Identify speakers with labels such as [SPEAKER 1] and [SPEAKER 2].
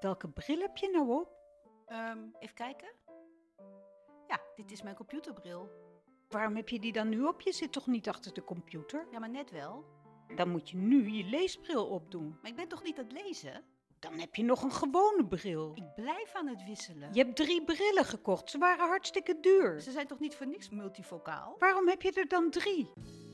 [SPEAKER 1] welke bril heb je nou op?
[SPEAKER 2] Ehm, even kijken. Ja, dit is mijn computerbril.
[SPEAKER 1] Waarom heb je die dan nu op? Je zit toch niet achter de computer?
[SPEAKER 2] Ja, maar net wel.
[SPEAKER 1] Dan moet je nu je leesbril opdoen.
[SPEAKER 2] Maar ik ben toch niet aan het lezen?
[SPEAKER 1] Dan heb je nog een gewone bril.
[SPEAKER 2] Ik blijf aan het wisselen.
[SPEAKER 1] Je hebt drie brillen gekocht, ze waren hartstikke duur.
[SPEAKER 2] Ze zijn toch niet voor niks multifocaal?
[SPEAKER 1] Waarom heb je er dan drie?